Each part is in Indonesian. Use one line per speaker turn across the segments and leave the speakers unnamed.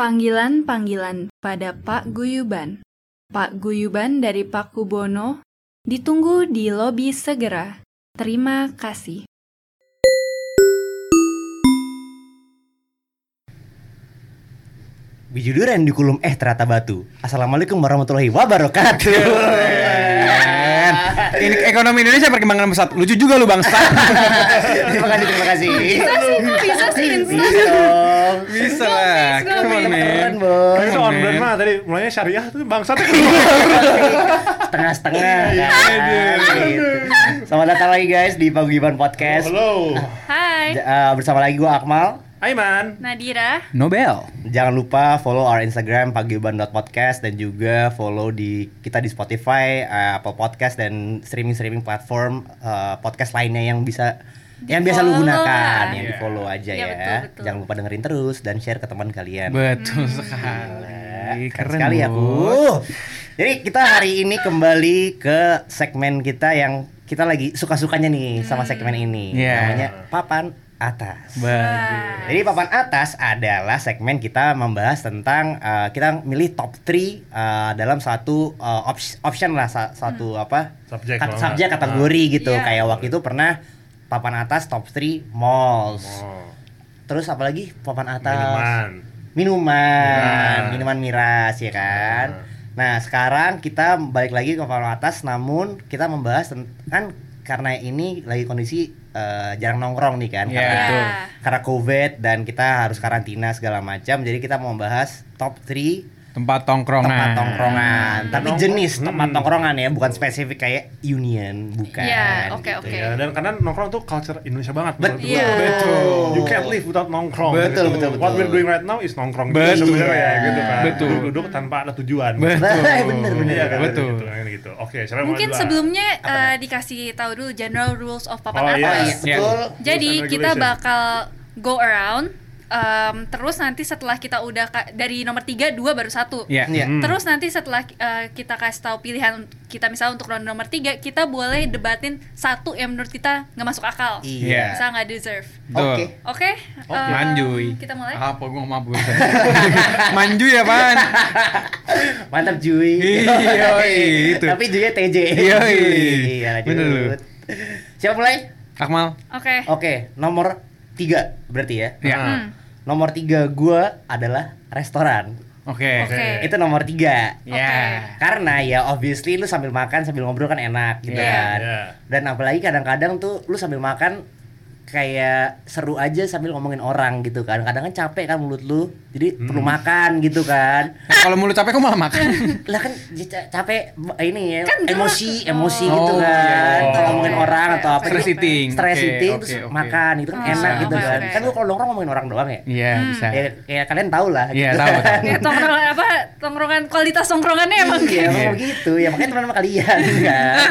Panggilan-panggilan pada Pak Guyuban. Pak Guyuban dari Pak Kubono ditunggu di lobi segera. Terima kasih.
Bijuduran di kulum eh ternyata batu. Assalamualaikum warahmatullahi wabarakatuh.
Ini ekonomi Indonesia perkembangan pesat. Lucu juga lu bangsa.
terima kasih, terima kasih.
Bisa sih, bisa sih, bisa.
Bisa dong.
Bisa lah.
Go, Fix, go,
Come on, man.
Keren, Bos.
Kan itu
Keren,
on brand
men.
mah tadi mulainya syariah tuh bangsa tuh
Setengah-setengah. kan, gitu. Selamat datang lagi guys di Paguyuban Podcast.
Halo.
Hai,
Ja- eh, bersama lagi gua Akmal.
Aiman.
Nadira.
Nobel.
Jangan lupa follow our Instagram paguyuban.podcast dan juga follow di kita di Spotify, eh, Apple Podcast dan streaming-streaming platform eh, podcast lainnya yang bisa yang biasa lu
Di-follow
gunakan,
lah.
yang
Iya.
di-follow aja
Iya,
ya.
betul, betul.
Jangan lupa dengerin terus dan share ke teman kalian.
Betul
Gila, keren
sekali. Keren
sekali ya, Bu.
Bos.
Jadi kita hari ini kembali ke segmen kita yang kita lagi suka-sukanya nih sama
Hmm.
segmen ini.
Iya.
Namanya papan atas.
Bagus.
Jadi papan atas adalah segmen kita membahas tentang uh, kita milih top 3 dalam satu uh, ops- option lah sa- satu apa
Subjek
kat-
kalau
subjek
nggak.
kategori gitu.
Iya.
Kayak waktu itu pernah papan atas top 3 malls.
Oh,
Terus apalagi papan atas
minuman.
minuman,
Miras.
Iya.
minuman miras ya kan. Nah, sekarang kita balik lagi ke papan atas namun kita membahas tent- kan karena ini lagi kondisi eh, jarang nongkrong nih kan.
Iya,
Karena
betul.
karena covid dan kita harus karantina segala macam jadi kita mau membahas top 3
Tempat tongkrongan.
tempat tongkrongan tapi
Nongkrong.
jenis tempat
Hmm.
tongkrongan ya bukan spesifik kayak union bukan
Iya, oke,
gitu.
oke.
Ya, dan karena nongkrong tuh culture Indonesia banget menurut
betul
gua.
Iya.
Betul.
You can't live without nongkrong.
Betul,
gitu.
betul, betul.
What we're doing right now is nongkrong.
Betul.
Gitu, sebenarnya ya, gitu kan.
Betul.
Duduk tanpa ada tujuan.
Betul.
Bener, bener.
Iya, kan,
Betul.
Gitu, kan, gitu. Oke, siapa yang mulai
Mungkin
duluan?
sebelumnya eh, dikasih tahu dulu general rules of
Oh,
papan ya? atas.
iya.
Oh, iya,
Iya.
betul
Jadi
Rules and
kita
regulation.
bakal go around em, terus nanti setelah kita udah ka- dari nomor 3 2 baru satu.
Iya.
Iya.
Hmm.
Terus nanti setelah eh, kita kasih tahu pilihan kita misalnya untuk round nomor 3 kita boleh debatin satu yang menurut kita nggak masuk akal.
iya
Iya.
Misalnya nggak deserve.
Betul.
Oke.
Oke?
Eh,
Oke.
em,
Manjuy.
Kita mulai.
Apa gua mabuk. ya? Manjuy ya, Pan.
mantap Jui
Iya, itu.
tapi Jui TJ
Iya,
iya lanjut
bener lu.
siapa mulai
Akmal.
Oke.
oke nomor 3 berarti ya
Iya.
Hmm.
nomor 3 gua adalah restoran
Oke.
Oke.
itu nomor 3
Ya.
karena ya obviously lu sambil makan sambil ngobrol kan enak gitu
Iya.
kan
Iya.
dan apalagi kadang-kadang tuh lu sambil makan kayak seru aja sambil ngomongin orang gitu kan kadang kan capek kan mulut lu jadi perlu
Hmm.
makan gitu kan
Nah, Kalau mulut capek kok malah makan.
lah kan j- ca- capek b- ini ya
Kan gerak.
emosi emosi
Oh.
gitu
Oh,
kan
iya.
kalau ngomongin
Oke,
orang
oke,
atau apa
oke.
Stress
gitu,
eating.
stress
Oke,
eating
oke,
terus
oke.
makan itu kan
Oh,
enak gitu
oke,
kan
oke.
kan lu kalau nongkrong ngomongin orang doang ya
Iya,
Hmm.
bisa.
ya, kayak kalian tau lah
Iya,
gitu
tahu,
kan.
tahu.
Ya, tongkrongan apa? Tongkrongan kualitas tongkrongannya emang
iya, emang gitu ya makanya teman sama kalian kan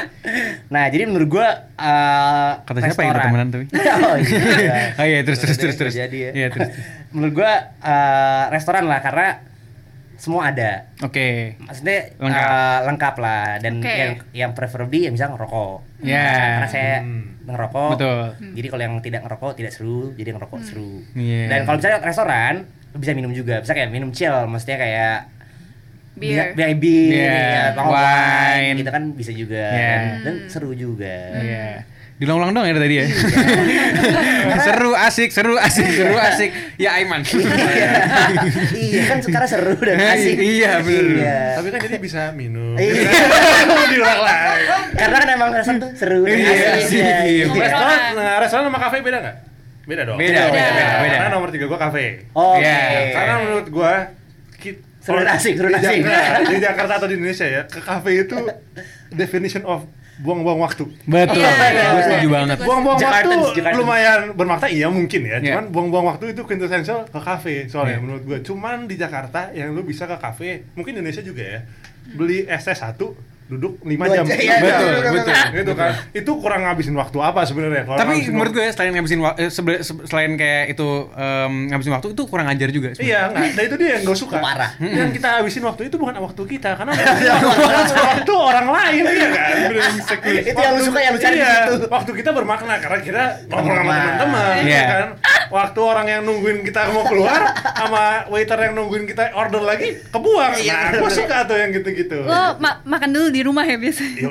nah jadi menurut gua eh,
Kata siapa yang
restoran.
temenan tuh?
oh iya
Oh iya, terus terus terus terus.
Jadi ya.
Iya, terus.
menurut gua eh, restoran lah karena semua ada
Oke.
maksudnya eh, lengkap,
Lengkap.
lah dan
Oke.
yang yang preferably ya misalnya ngerokok Nah,
Iya.
karena saya
Hmm.
ngerokok
Betul.
Hmm.
jadi kalau yang tidak ngerokok tidak seru jadi ngerokok seru
Iya.
dan kalau misalnya restoran bisa minum juga bisa kayak minum chill maksudnya kayak
Beer.
bi- bi- bir,
Iya.
ya, botol
Wine.
wine gitu kan bisa juga
Iya.
dan, dan
Hmm.
seru juga
Iya. Diulang-ulang dong ya dari tadi ya. seru asik, seru asik, seru asik. Ya Aiman.
Iya. iya kan sekarang seru dan
Iya,
asik
iya, bener.
Iya.
Tapi kan jadi bisa minum.
Iya.
Diulang lagi.
karena kan emang restoran tuh seru dan
Iya,
asik
asik,
ya.
iya.
Iya.
Restoran, nah, restoran sama kafe beda nggak? Beda dong.
Beda,
beda,
beda, beda.
Karena nomor tiga gua kafe.
Oke.
Iya.
Karena menurut gua ki-
Seru dan asik, seru dan
di
asik.
Jakarta- Di Jakarta atau di Indonesia ya, ke kafe itu definition of buang-buang waktu.
Betul.
Iya, iya,
Gue
iya.
setuju
Itu
banget.
gua
Buang-buang waktu
Jakartans, Jakartans.
lumayan bermakna iya mungkin ya.
Iya.
Cuman buang-buang waktu itu quintessential ke kafe soalnya
Iya.
menurut gua. Cuman di Jakarta yang lu bisa ke kafe, mungkin di Indonesia juga ya. Beli es teh satu duduk 5
Dua
jam.
jam, iya,
Betul,
Gitu kan,
betul,
Gitu kan. Itu kurang ngabisin waktu apa sebenarnya kalau
Tapi
ngabisin
menurut
waktu-
gue selain ngabisin wa- eh, sebe- se- selain kayak itu em, ngabisin waktu itu kurang ajar juga sebenarnya.
Iya, enggak. Nah itu dia yang gue suka.
Parah.
Yang kita habisin waktu itu bukan waktu kita, karena
Ya,
waktu orang lain ya kan. Bener, insecure.
Iya, Itu yang lu suka, yang lu cari
Iya,
di situ.
Waktu kita bermakna karena kita ngobrol sama
bermakna.
teman-teman,
Iya.
ya kan. waktu orang yang nungguin kita mau keluar sama waiter yang nungguin kita order lagi kebuang
Iya,
nah gue suka tuh yang gitu-gitu
Lo ma- makan dulu di rumah ya biasanya.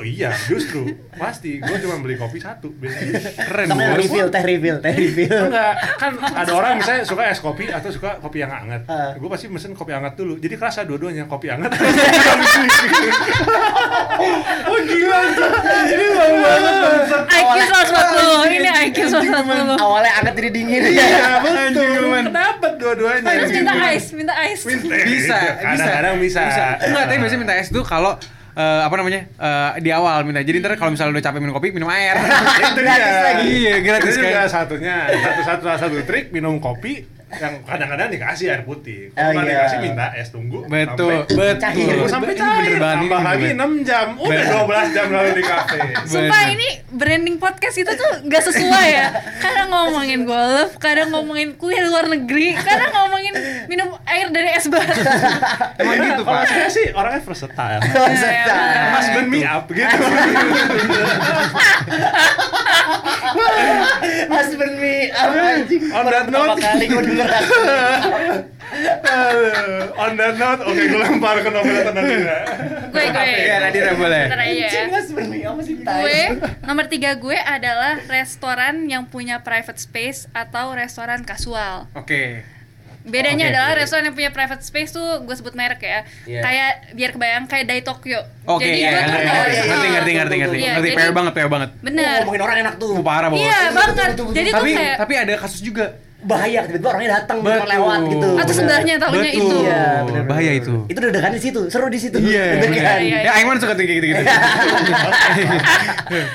Yo iya, justru pasti gue cuma beli kopi satu biasanya.
Keren
Sama yang
bos.
refill, teh refill, teh refill.
Enggak, kan ada orang misalnya suka es kopi atau suka kopi yang hangat.
Ah.
Gue pasti mesen kopi hangat dulu. Jadi kerasa dua-duanya kopi hangat. oh gila tuh. Ini bau banget
Iya.
bangsat.
IQ 140, ini IQ 140.
Awalnya anget jadi dingin.
Iya, betul. Kenapa dua-duanya?
Terus minta ice, minta ice.
Minta.
bisa
Iya,
Kadang-kadang bisa.
enggak tapi biasanya minta es tuh kalau eh, apa namanya eh, di awal minta jadi ntar kalau misalnya udah capek minum kopi minum air
itu dia.
Gratis lagi.
Iya, gratis
Itu juga
kan.
satunya. Satu satu salah satu trik minum kopi yang kadang-kadang dikasih air putih.
Oh,
Kalau nggak
iya.
dikasih minta es
Ah,
tunggu.
betul
sampai- Iya,
Cair.
betul
sampai
Ini
cair.
bener banget, ini
Tambah
bener banget.
lagi 6 jam. Udah
Bener.
12 jam lalu di kafe.
Sumpah
Bener.
ini branding podcast itu tuh gak sesuai ya Kadang ngomongin golf, kadang ngomongin kuliah luar negeri Kadang ngomongin minum air dari es batu
Emang
Iya,
gitu,
Kalau
Pak.
saya sih orangnya versatile.
Iya,
Mas burn me up gitu.
Husband me, apa anjing?
On that
Pertama
note.
kali gue denger
Aduh, On that note, oke gue lempar ke novel ya. Nadira.
Gue, gue
Iya, Nadira boleh.
Ntar aja ya
Anjing husband me, apa sih? tai?
Gue, nomor tiga gue adalah restoran yang punya private space atau restoran kasual
oke
Bedanya
Oke.
adalah restoran yang punya private space tuh gue sebut merek ya
Iya.
Kayak, biar kebayang kayak Dai Tokyo
oke
Jadi
iya
gue
ngerti,
pernah-
iya,
ngerti
iya.
ngerti ngerti ngerti
Iya,
ngerti
jadi-
PR banget PR banget
Oh,
Bener
ngomongin orang enak tuh.
Oh, parah bos
Iya banget,
betul, betul,
jadi tuh
tapi
kayak
tapi ada kasus juga
Bahaya tiba-tiba orangnya datang cuma
Betul.
lewat gitu.
Atau sebelahnya tahunya
Betul.
itu
Iya, bener-bener.
Oh, bahaya itu.
Itu deg-degan di situ, seru di situ.
Iya,
Iya,
Deg-degan.
iya,
ya Aiman suka tinggi gitu gitu.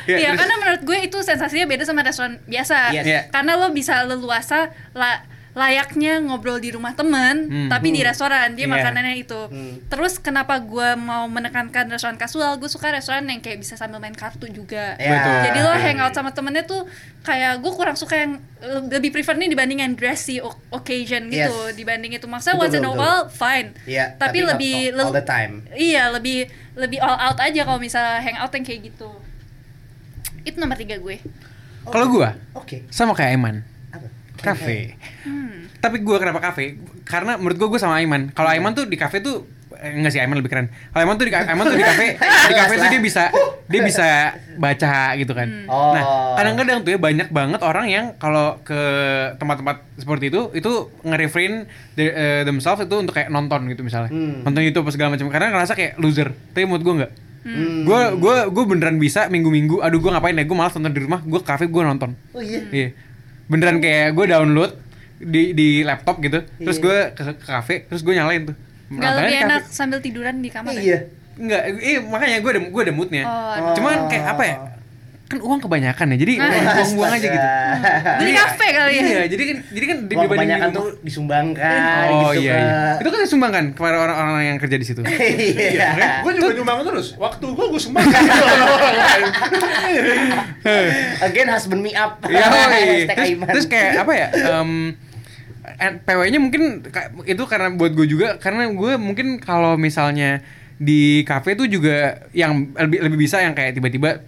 Iya, karena menurut gue itu sensasinya beda sama restoran biasa.
Yes.
Iya.
Karena lo bisa leluasa la- layaknya ngobrol di rumah temen,
Hmm.
tapi di restoran dia
Iya.
makanannya itu.
Hmm.
Terus kenapa gue mau menekankan restoran kasual? Gue suka restoran yang kayak bisa sambil main kartu juga.
Iya.
Betul.
Jadi lo
Iya.
hangout sama temennya tuh kayak gue kurang suka yang lebih prefer nih dibandingin dressy o- occasion gitu
Yes.
dibanding itu maksa
Betul,
once in a
betul.
while fine
Iya,
tapi,
tapi not
lebih
all- all
lel-
the time.
iya lebih lebih all out aja kalau misalnya hangout yang kayak gitu itu nomor tiga gue
Kalau gua
Oke.
sama kayak Aiman,
Apa?
kafe.
Hmm.
Tapi gua kenapa kafe? Karena menurut gua gua sama Aiman. Kalau Aiman tuh di kafe tuh eh, enggak sih Aiman lebih keren. Kalau Aiman tuh di ka- Aiman tuh di kafe, di kafe tuh dia bisa dia bisa baca gitu kan.
Hmm.
Oh.
Nah, kadang-kadang tuh ya banyak banget orang yang kalau ke tempat-tempat seperti itu itu nge-refrain the- eh, themselves itu untuk kayak nonton gitu misalnya.
Hmm.
Nonton YouTube apa segala macam karena ngerasa kayak loser. Tapi menurut gua enggak.
Hmm.
Gue gue gue beneran bisa minggu-minggu. Aduh gue ngapain ya? Gue malas nonton di rumah. Gue ke kafe gue nonton.
Oh iya.
Iya. Beneran kayak gue download di di laptop gitu.
Iya.
Terus gue ke ke kafe. Terus gue nyalain tuh.
nggak
Nontonnya
lebih
di kafe.
enak sambil tiduran di kamar ya?
Iya.
Enggak. Eh makanya gue ada gue ada moodnya.
Oh,
aduh.
Cuman kayak apa ya? Kan uang kebanyakan ya. Jadi
Ah.
buang-buang aja gitu.
Astaga.
Beli
Jadi-
kafe kali ya?
Iya, jadi kan jadi kan
Uang
dibanding di
kebanyakan
rumah.
tuh disumbangkan
Oh
gitu
iya,
ke-
iya. Itu kan disumbangkan kepada orang-orang yang kerja di situ.
Iya.
Gue juga nyumbang terus. Waktu gue gue sumbangkan ke orang lain.
Again husband me up.
Iya, woi.
Hashtag
terus,
Aiman.
terus kayak apa ya? em, en- PW-nya mungkin ka- itu karena buat gue juga karena gue mungkin kalau misalnya di kafe tuh juga yang lebih lebih bisa yang kayak tiba-tiba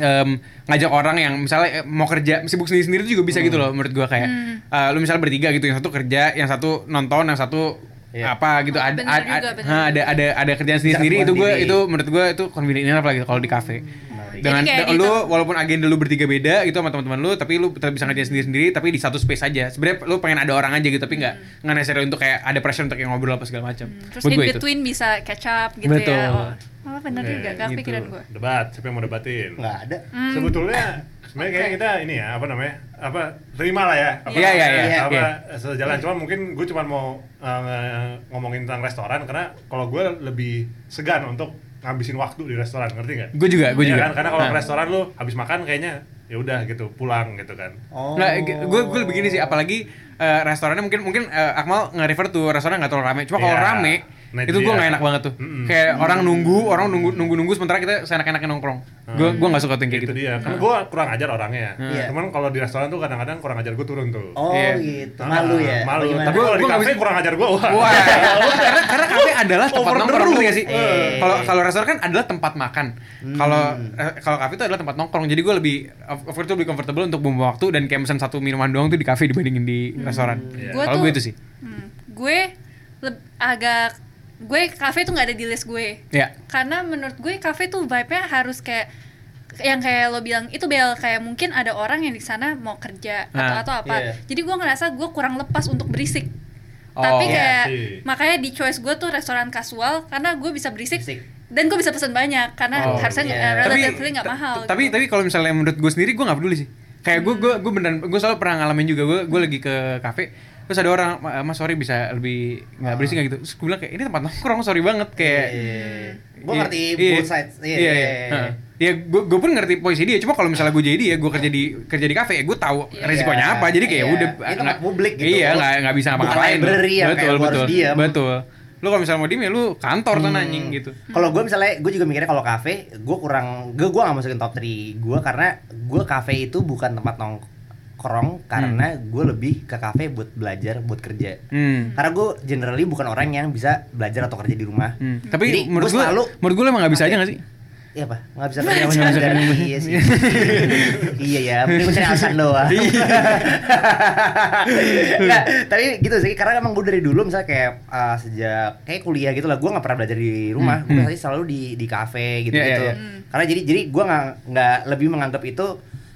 em, ngajak orang yang misalnya eh, mau kerja sibuk sendiri-sendiri tuh juga bisa gitu
Hmm.
loh menurut gue kayak eh, lu misalnya bertiga gitu yang satu kerja yang satu nonton yang satu
Iya.
apa gitu
Oh,
ada
bener
ada-
juga, bener
ha, ada ada ada kerjaan
buat
sendiri-sendiri itu gue
diri.
itu menurut gue itu convenient apa lagi kalau di kafe
Iya.
dengan
Jadi kayak gitu.
da- lu
di-
walaupun agenda lu bertiga beda gitu sama teman-teman lu tapi lu tetap bisa ngerjain sendiri-sendiri tapi di satu space aja sebenarnya lu pengen ada orang aja gitu tapi nggak nggak necessary untuk kayak ada pressure untuk kayak ngobrol apa segala macam
Hmm. terus
buat
in
gue itu
between bisa catch up gitu
Betul.
ya oh, oh bener
Iya,
juga gak
gitu.
pikiran gue
Debat, siapa yang mau debatin?
Nggak ada.
Sebetulnya sebenarnya kayak kita ini ya apa namanya? Apa terima lah ya. Apa,
Iya, iya, iya,
Apa
iya.
sejalan cuma mungkin gue cuma mau eh, ngomongin tentang restoran karena kalau gue lebih segan untuk ngabisin waktu di restoran, ngerti nggak?
gue juga gue
Iya
juga
kan? Karena kalau ke
Nah.
restoran lu habis makan kayaknya ya udah gitu, pulang gitu kan.
Oh.
Nggak, gue gue lebih gini sih apalagi eh, restorannya mungkin mungkin eh, Akmal nge-refer tuh restoran nggak terlalu rame cuma kalau
Iya.
rame
Nah,
itu
dia.
gue nggak enak banget tuh
Mm-mm.
kayak orang nunggu orang nunggu nunggu nunggu sementara kita seenak-enaknya nongkrong gue gue nggak suka tuh yang kayak
itu
gitu
dia kan gue kurang ajar orangnya
Iya.
cuman kalau di restoran tuh kadang-kadang kurang ajar gue turun tuh
Oh
Iya.
gitu,
Ah,
malu ya.
malu
Bagaimana?
tapi kalau di
Gua nggak
kafe
bisa-
kurang ajar gue wah
Wah, karena karena kafe adalah tempat
Over the
nongkrong
roof. Iya,
ngerti nggak sih?
Eh.
Kalau kalau restoran kan adalah tempat makan.
Hmm.
Kalau eh, kalau kafe itu adalah tempat nongkrong. Jadi gue lebih of of course tuh lebih comfortable untuk membuang waktu dan kayak pesan satu minuman doang tuh di kafe dibandingin di restoran.
Iya.
Gua
Kalau
tuh-
gue itu sih.
Hmm, gue leb- agak gue kafe tuh nggak ada di list gue
Ya.
karena menurut gue kafe tuh vibe-nya harus kayak yang kayak lo bilang itu bel kayak mungkin ada orang yang di sana mau kerja atau
Ah,
atau apa
iya.
jadi gue ngerasa gue kurang lepas untuk berisik
Oh,
tapi
iya
kayak
sih.
makanya di choice gue tuh restoran kasual karena gue bisa berisik,
Berisik.
dan gue bisa pesan banyak karena
Oh,
harusnya
iya.
eh,
Tapi
relatively nggak mahal
tapi
gitu.
tapi kalau misalnya menurut gue sendiri gue nggak peduli sih. Kayak gue gue gue beneran gue selalu pernah ngalamin juga gue gue lagi ke kafe terus ada orang mas sorry bisa lebih nggak berisik nggak gitu terus gue bilang kayak ini tempat nongkrong sorry banget
Iya,
kayak
Gue Iya.
Iya,
ngerti
iya.
both sides. Iya.
Iya,
iya, iya.
Heeh. Ya gue gue pun ngerti posisi dia, cuma kalau misalnya gue jadi ya gue kerja di kerja di kafe ya gue tahu
Iya.
resikonya apa. Jadi kayak
Iya.
udah
Ini tempat
nggak-
publik gitu.
Iya,
Lu
nggak nggak bisa
bukan
apa-apain.
library yang kayak lu harus Hmm.
betul.
diem.
Betul. Lu kalau misalnya mau diem ya lu kantor tuh anjing gitu.
Kalau gue misalnya, gue juga mikirnya kalau kafe, gue kurang, gue gue nggak masukin top 3 gue karena gue kafe itu bukan tempat nongkrong karena gue lebih ke kafe buat belajar, buat kerja.
Hmm.
Karena gue generally bukan orang yang bisa belajar atau kerja di rumah.
Hmm. Tapi
Jadi,
menurut
gua
gue
selalu-
menurut gue emang nggak bisa
Oke.
aja nggak sih?
Iya apa? Nggak bisa kerja nggak bisa belajar. Iya sih. iya ya, mending gue cari alasan doang.
Iya.
Nggak, tapi gitu sih karena emang gue dari dulu misalnya kayak eh, sejak kayak kuliah gitu lah gue nggak pernah belajar di rumah
Hmm,
gue
hmm.
pasti selalu di di kafe gitu gitu
Iya, iya, iya.
karena jadi jadi gue nggak nggak lebih menganggap itu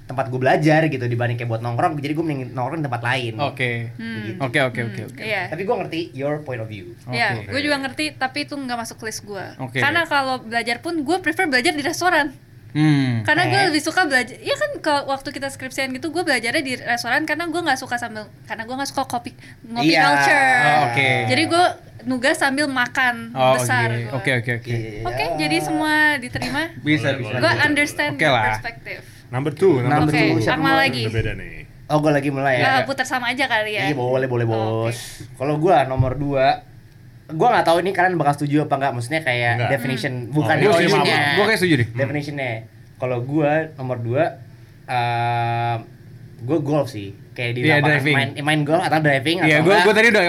tempat gue belajar gitu dibanding kayak buat nongkrong jadi gue mending nongkrong di tempat lain
Oke.
Hmm.
Oke ya, oke oke
Hmm,
oke.
iya.
tapi gue ngerti your point of view
Ya,
Oke.
gue juga ngerti, tapi itu nggak masuk list gue.
Oke.
Karena kalau belajar pun gue prefer belajar di restoran.
Hmm.
Karena gue
Eh.
lebih suka belajar. Iya kan kalau waktu kita skripsian gitu, gue belajarnya di restoran karena gue nggak suka sambil, karena gue nggak suka kopi ngopi
Iya.
culture.
Oh, oke.
Jadi gue nugas sambil makan
Oh,
besar.
iya.
gua.
Oke oke oke.
Iya.
Oke, jadi semua diterima.
Bisa
Boleh,
bisa.
gue
boleh.
understand
Oke
the
lah.
perspektif.
number two
Number two.
Oke, sama lagi.
Udah beda nih
oh gue lagi
Iya,
mulai ya
Eh, putar sama aja kali
Iya
ya.
boleh boleh
Oh,
bos. Kalau gua nomor dua, gua nggak tahu ini kalian bakal setuju apa nggak. Maksudnya kayak
Nggak.
definition
Hmm.
bukan
Oh, iya,
Gue
definitionnya.
gue kayak setuju
Hmm.
deh.
definitionnya. Kalau gua nomor dua, eh gua golf sih. Kayak di
Iya,
lapangan.
driving.
main, main golf atau driving.
Iya,
atau
gue
nggak,
gue tadi udah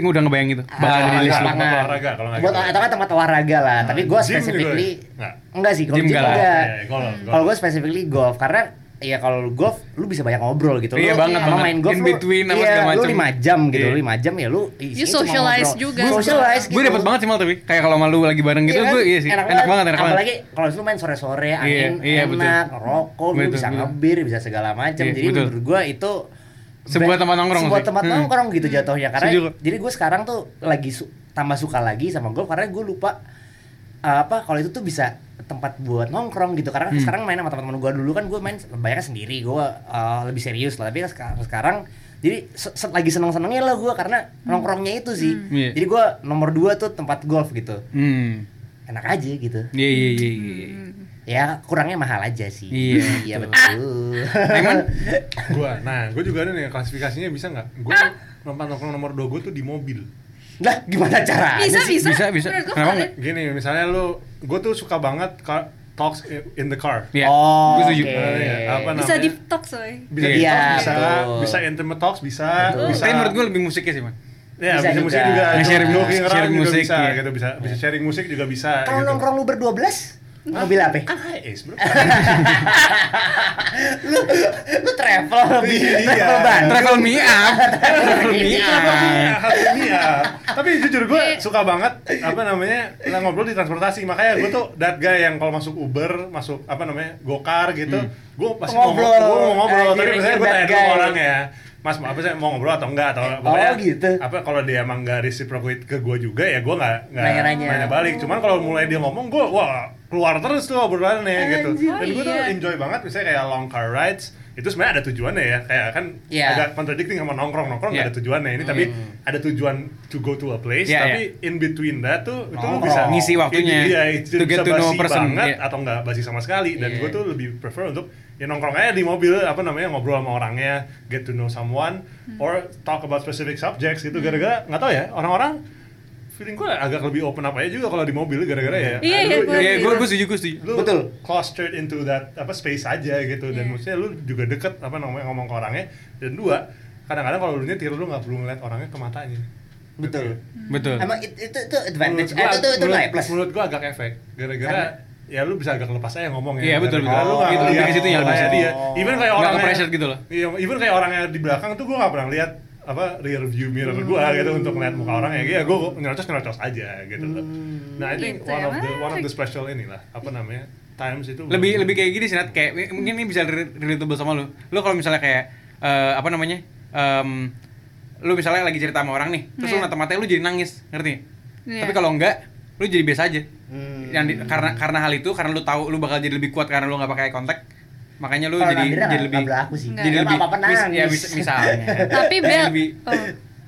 gue udah ngebayang gitu.
eh,
Bakal ada di list lu.
lapangan.
Tempat olahraga, kalau nggak
Buat-
gitu. Nah,
atau nggak tempat olahraga lah. Tapi gua
Gym juga
specifically
ya? Nggak.
enggak sih kalau
Gym
gym
nggak lah.
enggak.
Iya, golf, golf.
Kalau gua specifically golf karena ya kalau lu golf lu bisa banyak ngobrol gitu.
Iya,
Lu
banget,
sama
banget.
main golf
In
lu-
between apa
iya,
segala
lu
macem.
5 jam gitu,
Iya.
5 jam ya lu
You
isinya cuma
socialize
ngobrol.
juga.
Socialize gitu.
gue dapat banget sih mal tapi kayak kalau malu lagi bareng gitu
Iya kan?
gue iya sih enak, banget enak banget
Apalagi kalau lu main sore-sore angin
iya, betul.
enak, rokok, lu
Betul,
bisa
betul.
ngebir, bisa segala macam.
Iya,
Jadi
betul.
menurut gua itu
Sebuah tempat nongkrong
Sebuah
sih.
tempat
Hmm.
nongkrong gitu jatuhnya karena
Setuju.
jadi gue sekarang tuh lagi su- tambah suka lagi sama golf karena gue lupa uh, apa kalau itu tuh bisa tempat buat nongkrong gitu karena
Hmm.
sekarang main sama teman-teman gue dulu kan gue main banyak sendiri gue uh, lebih serius lah tapi seka- sekarang jadi se- se- lagi seneng-senengnya lah gue karena nongkrongnya itu sih
Iya.
jadi gue nomor dua tuh tempat golf gitu
hmm
enak aja gitu
iya iya iya iya.
ya kurangnya mahal aja sih
Iya,
iya betul
Emang
gua nah gua juga ada nih klasifikasinya bisa nggak gua nonton nongkrong nomor dua gua tuh di mobil
lah gimana cara
Bisa, bisa,
Bisa, bisa.
Menurut gue
Kenapa
valid.
gini misalnya lu gua tuh suka banget car- talks in the car
Iya.
oh
Gue setuju.
oke.
Eh, apa
Bisa
namanya?
di talk soy.
bisa
Iya,
deep talk, bisa
betul.
bisa intimate talks bisa
Betul.
bisa
tapi menurut gue lebih musiknya sih man
ya
Bisa
bisa, musik
juga.
juga
Nah, sharing-
jogging around
sharing
juga
musik,
bisa
iya.
gitu bisa bisa sharing musik juga bisa
Kalau
gitu.
nongkrong lu berdua belas, mobil apa?
Ah.
kan HS bro
lu, lu travel lebih
Iya.
travel ban.
travel me up travel me up
Iya. Tapi jujur gue suka banget apa namanya lah ngobrol di transportasi. Makanya gue tuh that guy yang kalau masuk Uber, masuk apa namanya Gokar gitu, gue pasti
Hmm. Ngobrol.
ngobrol. Gue mau ngobrol.
Ah,
Tapi
you're-
biasanya gue
you're
tanya
that
dulu
guy.
orang ya. Mas mau apa sih mau ngobrol atau enggak atau pokoknya
gitu.
apa kalau dia emang nggak reciprocate ke gue juga ya gue nggak nggak
Nanya-nanya.
nanya balik cuman kalau mulai dia ngomong gue wah keluar terus tuh obrolannya gitu
Anjir.
dan gue tuh
Oh, iya.
enjoy banget misalnya kayak long car rides itu sebenarnya ada tujuannya ya kayak kan
Iya.
agak contradicting sama nongkrong nongkrong nggak
Iya.
ada tujuannya ini tapi
Hmm.
ada tujuan to go to a place
Iya,
tapi in between that tuh itu lu
Nongkrong.
Oh,
bisa
Ngisi waktunya.
iya itu
To get to
bisa
know
basi
person, iya.
banget atau nggak basi sama sekali dan
Iya.
gue tuh lebih prefer untuk ya nongkrong aja di mobil apa namanya ngobrol sama orangnya
Hmm.
get to know someone or talk about specific subjects gitu gara-gara nggak tau ya orang-orang feeling gue agak lebih open up aja juga kalau di mobil gara-gara ya.
Iya,
lu-
iya,
ya,
Iya, gue
Bener.
gue setuju, gue setuju.
lu
Betul.
clustered into that apa space aja gitu dan
Iya.
maksudnya lu juga deket apa namanya ngomong ke orangnya dan dua kadang-kadang kalau lu nyetir lu nggak perlu ngeliat orangnya ke matanya
Betul.
Betul.
Emang it- itu itu advantage. Eh,
gua-
itu itu itu
menurut-
nilai plus.
menurut gua agak efek gara-gara
Karena-
ya lu bisa agak lepas aja ngomong
Iya,
ya
betul,
Gara-gara
betul.
lu nggak
Itu
ngeliat
lebih ke situ ya, lebih ke
kayak
situ.
dia even kayak
Nggak
orangnya
ke-pressured gitu loh.
iya even kayak orangnya di belakang tuh gua nggak pernah lihat apa rear view mirror gua gitu untuk ngeliat muka orangnya ya gua nyerocos nyerocos aja gitu loh nah I think
Gitu
one
ya,
of the one of
menarik.
the special inilah apa namanya times itu
lebih lebih kayak gini sih Nat kayak mi- mungkin ini bisa re- relatable sama lu lu kalau misalnya kayak eh, apa namanya Em lu misalnya lagi cerita sama orang nih terus lu
Iya.
mata-matanya lu jadi nangis ngerti
Iya.
tapi kalau enggak lu jadi biasa aja
Hmm.
yang di- karena karena hal itu karena lu tahu lu bakal jadi lebih kuat karena lu nggak pakai kontak makanya lu
Kalau
jadi
Nandira
jadi
nggak-
lebih
nggak berlaku sih.
Nggak.
jadi
Dia
lebih
apa-apa
mis- ya,
nangis.
mis- misalnya
tapi
Jadi
Bel
lebih-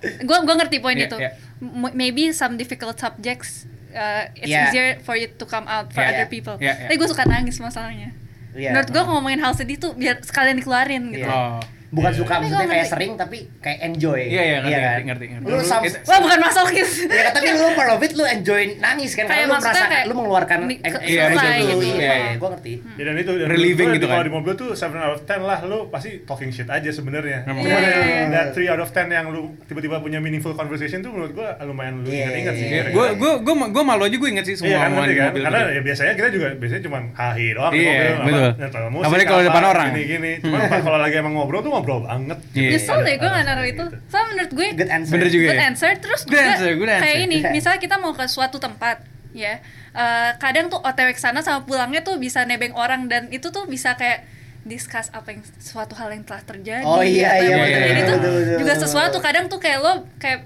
gue gue ngerti poin
Iya,
itu
iya.
M- maybe some difficult subjects uh, it's
Iya.
easier for you to come out for
Iya,
other
iya.
people
Iya, iya.
tapi gue suka nangis masalahnya
Iya.
menurut gue ngomongin hal sedih tuh biar sekalian dikeluarin gitu
Iya.
oh
bukan
Iya.
suka
Tapi
maksudnya
gua
kayak
ngerti.
sering tapi kayak enjoy.
Iya, iya, ngerti,
kan?
ngerti, ngerti, ngerti.
Lu sam
Itu-
wah bukan gitu. masokis
Ya tapi lu part of it lu enjoy nangis kan
Kayak
karena lu
maksudnya
merasa
kayak
lu mengeluarkan
di-
eh,
ke-
Iya,
emosi
selesai
lu.
gitu.
Iya,
Iya.
gua ngerti.
Hmm.
Ya dan itu dan
Relieving
menurut gua
gitu kan.
Kalau di mobil tuh 7 out of 10 lah lu pasti talking shit aja sebenarnya.
Emang.
Cuma
Iya.
dari- dari 3 out of 10 yang lu tiba-tiba punya meaningful conversation tuh menurut gua lumayan lu
Iya,
ingat-ingat sih.
iya, iya.
gue gue gue gue malu aja gue inget sih
Iya
semua
kan,
omongan
ngerti
di
kan?
mobil
Karena
gitu.
ya biasanya kita juga biasanya cuma hahi doang
Iya,
apa,
betul.
nyetel
Apalagi kalau
ya, apa,
depan orang.
Gini-gini. Cuman kalau lagi emang ngobrol tuh ngobrol banget.
Iya.
nyesel deh gue
Ada
nggak naruh itu
gitu.
soalnya menurut gue
Good answer.
Bener juga
good
ya?
answer terus
Good
juga
answer, good
kayak
answer.
ini misalnya kita mau ke suatu tempat ya eh, kadang tuh otw ke sana sama pulangnya tuh bisa nebeng orang dan itu tuh bisa kayak discuss apa yang suatu hal yang telah terjadi
Oh iya
apa
iya.
yang mau
iya,
terjadi
iya,
tuh
betul, betul,
juga
betul,
sesuatu
betul.
kadang tuh kayak lo kayak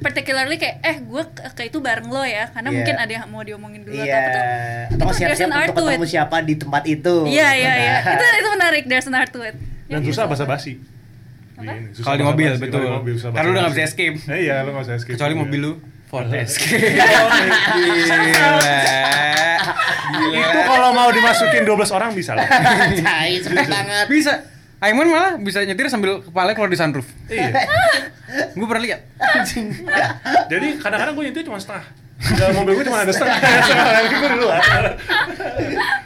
particularly kayak eh gue ke, ke itu bareng lo ya karena
Iya.
mungkin ada yang mau diomongin dulu
Iya.
atau apa tuh
Atau nggak
itu
siap-siap
there's an art
untuk
to
ketemu
it.
siapa di tempat itu.
iya iya iya
Nah.
itu itu menarik there's an art to it
Dan
Ya,
susah
gitu.
basa-basi.
Apa?
Gini, susah
Kalau di
basa-basi.
mobil,
Kalau di
betul.
mobil susah
Karena lu udah nggak bisa
basa-basi.
escape.
Eh, Iya, lu nggak bisa escape.
kecuali
juga.
mobil lu Ford Escape
Itu kalau mau dimasukin 12 orang bisa lah.
Cai, seneng banget.
bisa Aiman malah bisa nyetir sambil kepala keluar di sunroof
Iya.
gue pernah lihat
Anjing.
Jadi kadang-kadang gue nyetir cuma setengah. Dalam mobil gue cuma ada setengah. Setengah lagi gue di luar.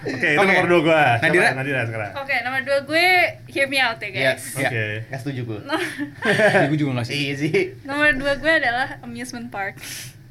Oke, itu
Oke.
nomor dua gue. Siapa?
Nadira?
Nadira sekarang.
Oke, nomor dua gue hear me out ya
Iya.
guys.
Oke.
Nggak setuju gue.
Nah.
gue juga nggak sih
Iya sih.
Nomor dua gue adalah amusement park.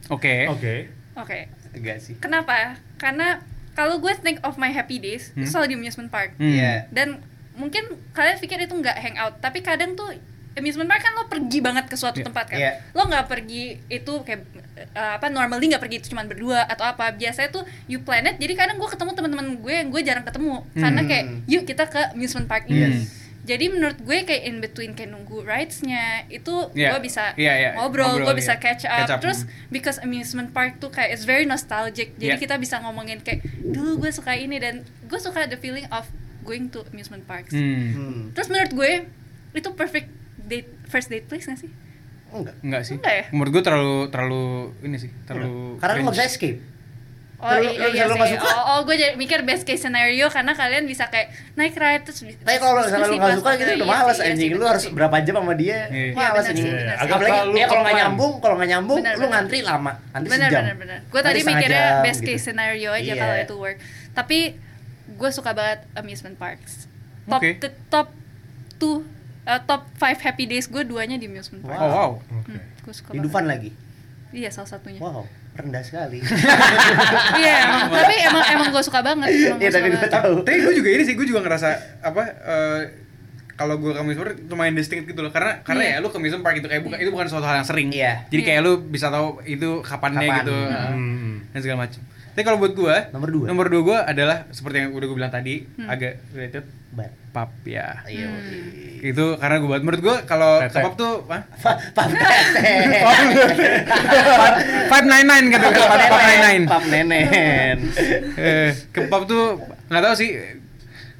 oke
Oke.
Oke,
Enggak sih.
kenapa? Karena kalau gue think of my happy days, itu
Hmm.
selalu di amusement park.
Hmm.
Iya.
Dan mungkin kalian pikir itu nggak hangout, tapi kadang tuh amusement park kan lo pergi banget ke suatu
Iya.
tempat kan.
Iya.
Lo nggak pergi itu kayak eh, apa normally nggak pergi itu cuma berdua atau apa. Biasanya tuh you plan it. Jadi kadang gue ketemu teman-teman gue yang gue jarang ketemu karena
Hmm.
kayak yuk kita ke amusement park ini.
Yes.
Jadi menurut gue kayak in between kayak nunggu rides-nya itu
Iya.
gue bisa
Iya, iya.
ngobrol,
Ngobrol,
gue bisa
iya.
catch up.
Catch up,
Terus
mm.
hmm.
because amusement park tuh kayak it's very nostalgic jadi
Iya.
Yeah.
kita bisa ngomongin kayak dulu gue suka ini dan gue suka the feeling of going to amusement parks
Hmm.
Hmm.
terus menurut gue itu perfect date first date place nggak sih
Enggak.
Enggak sih.
Enggak ya?
Menurut gue terlalu terlalu ini sih, terlalu
Karena lu nggak bisa
cringe.
escape.
Oh
Lu-
iya,
lu-
iya
lu
sih.
nggak suka?
Oh, oh, gue jadi mikir best case scenario karena kalian bisa kayak naik ride terus.
Tapi kalau misalnya lu nggak suka gitu udah
Iya,
males anjing. Lu harus
berapa
berapa jam sama dia?
Iya.
Males
Iya,
anjing.
benar sih,
Apalagi
benar sih. Agak
ya kalau nggak
terlalu
nyambung, kalau nggak nyambung
Benar,
lu
benar.
ngantri lama, antri
benar
sejam.
benar benar gue
Nanti
tadi
setengah
mikirnya
jam,
best
gitu.
case scenario aja
Iya.
kalau itu work tapi gue suka banget amusement parks top
Oke.
the top two uh, top five happy days gue duanya di amusement park
Wah.
Oh wow.
Oke.
gue suka
Di
banget
Dufan lagi.
iya salah satunya
Wow, rendah sekali.
iya emang tapi emang emang gue suka banget emang
Iya, tapi
gua suka
gue
banget.
tahu.
Tapi gue juga ini sih, gue juga ngerasa apa eh, kalau gue ke amusement park lumayan distinct gitu loh karena karena
Iya.
ya lu ke amusement park gitu kayak bukan itu bukan suatu hal yang sering
Iya.
jadi
Iya.
kayak lu bisa tahu itu kapannya
Kapan.
gitu
Hmm.
Hmm.
dan segala macam tapi kalau buat gue
Nomor dua. Hmm.
nomor dua gue adalah seperti yang udah gue bilang tadi agak related
Bar. Iya,
pub ya
Ayo.
Hmm.
itu karena gue buat menurut gue kalau ke
Tete.
pub tuh ah,
Fa- Pap nenek.
five nine nine gitu Pub- pub nine nine
Pap nenen.
eh, ke pub tuh nggak tahu sih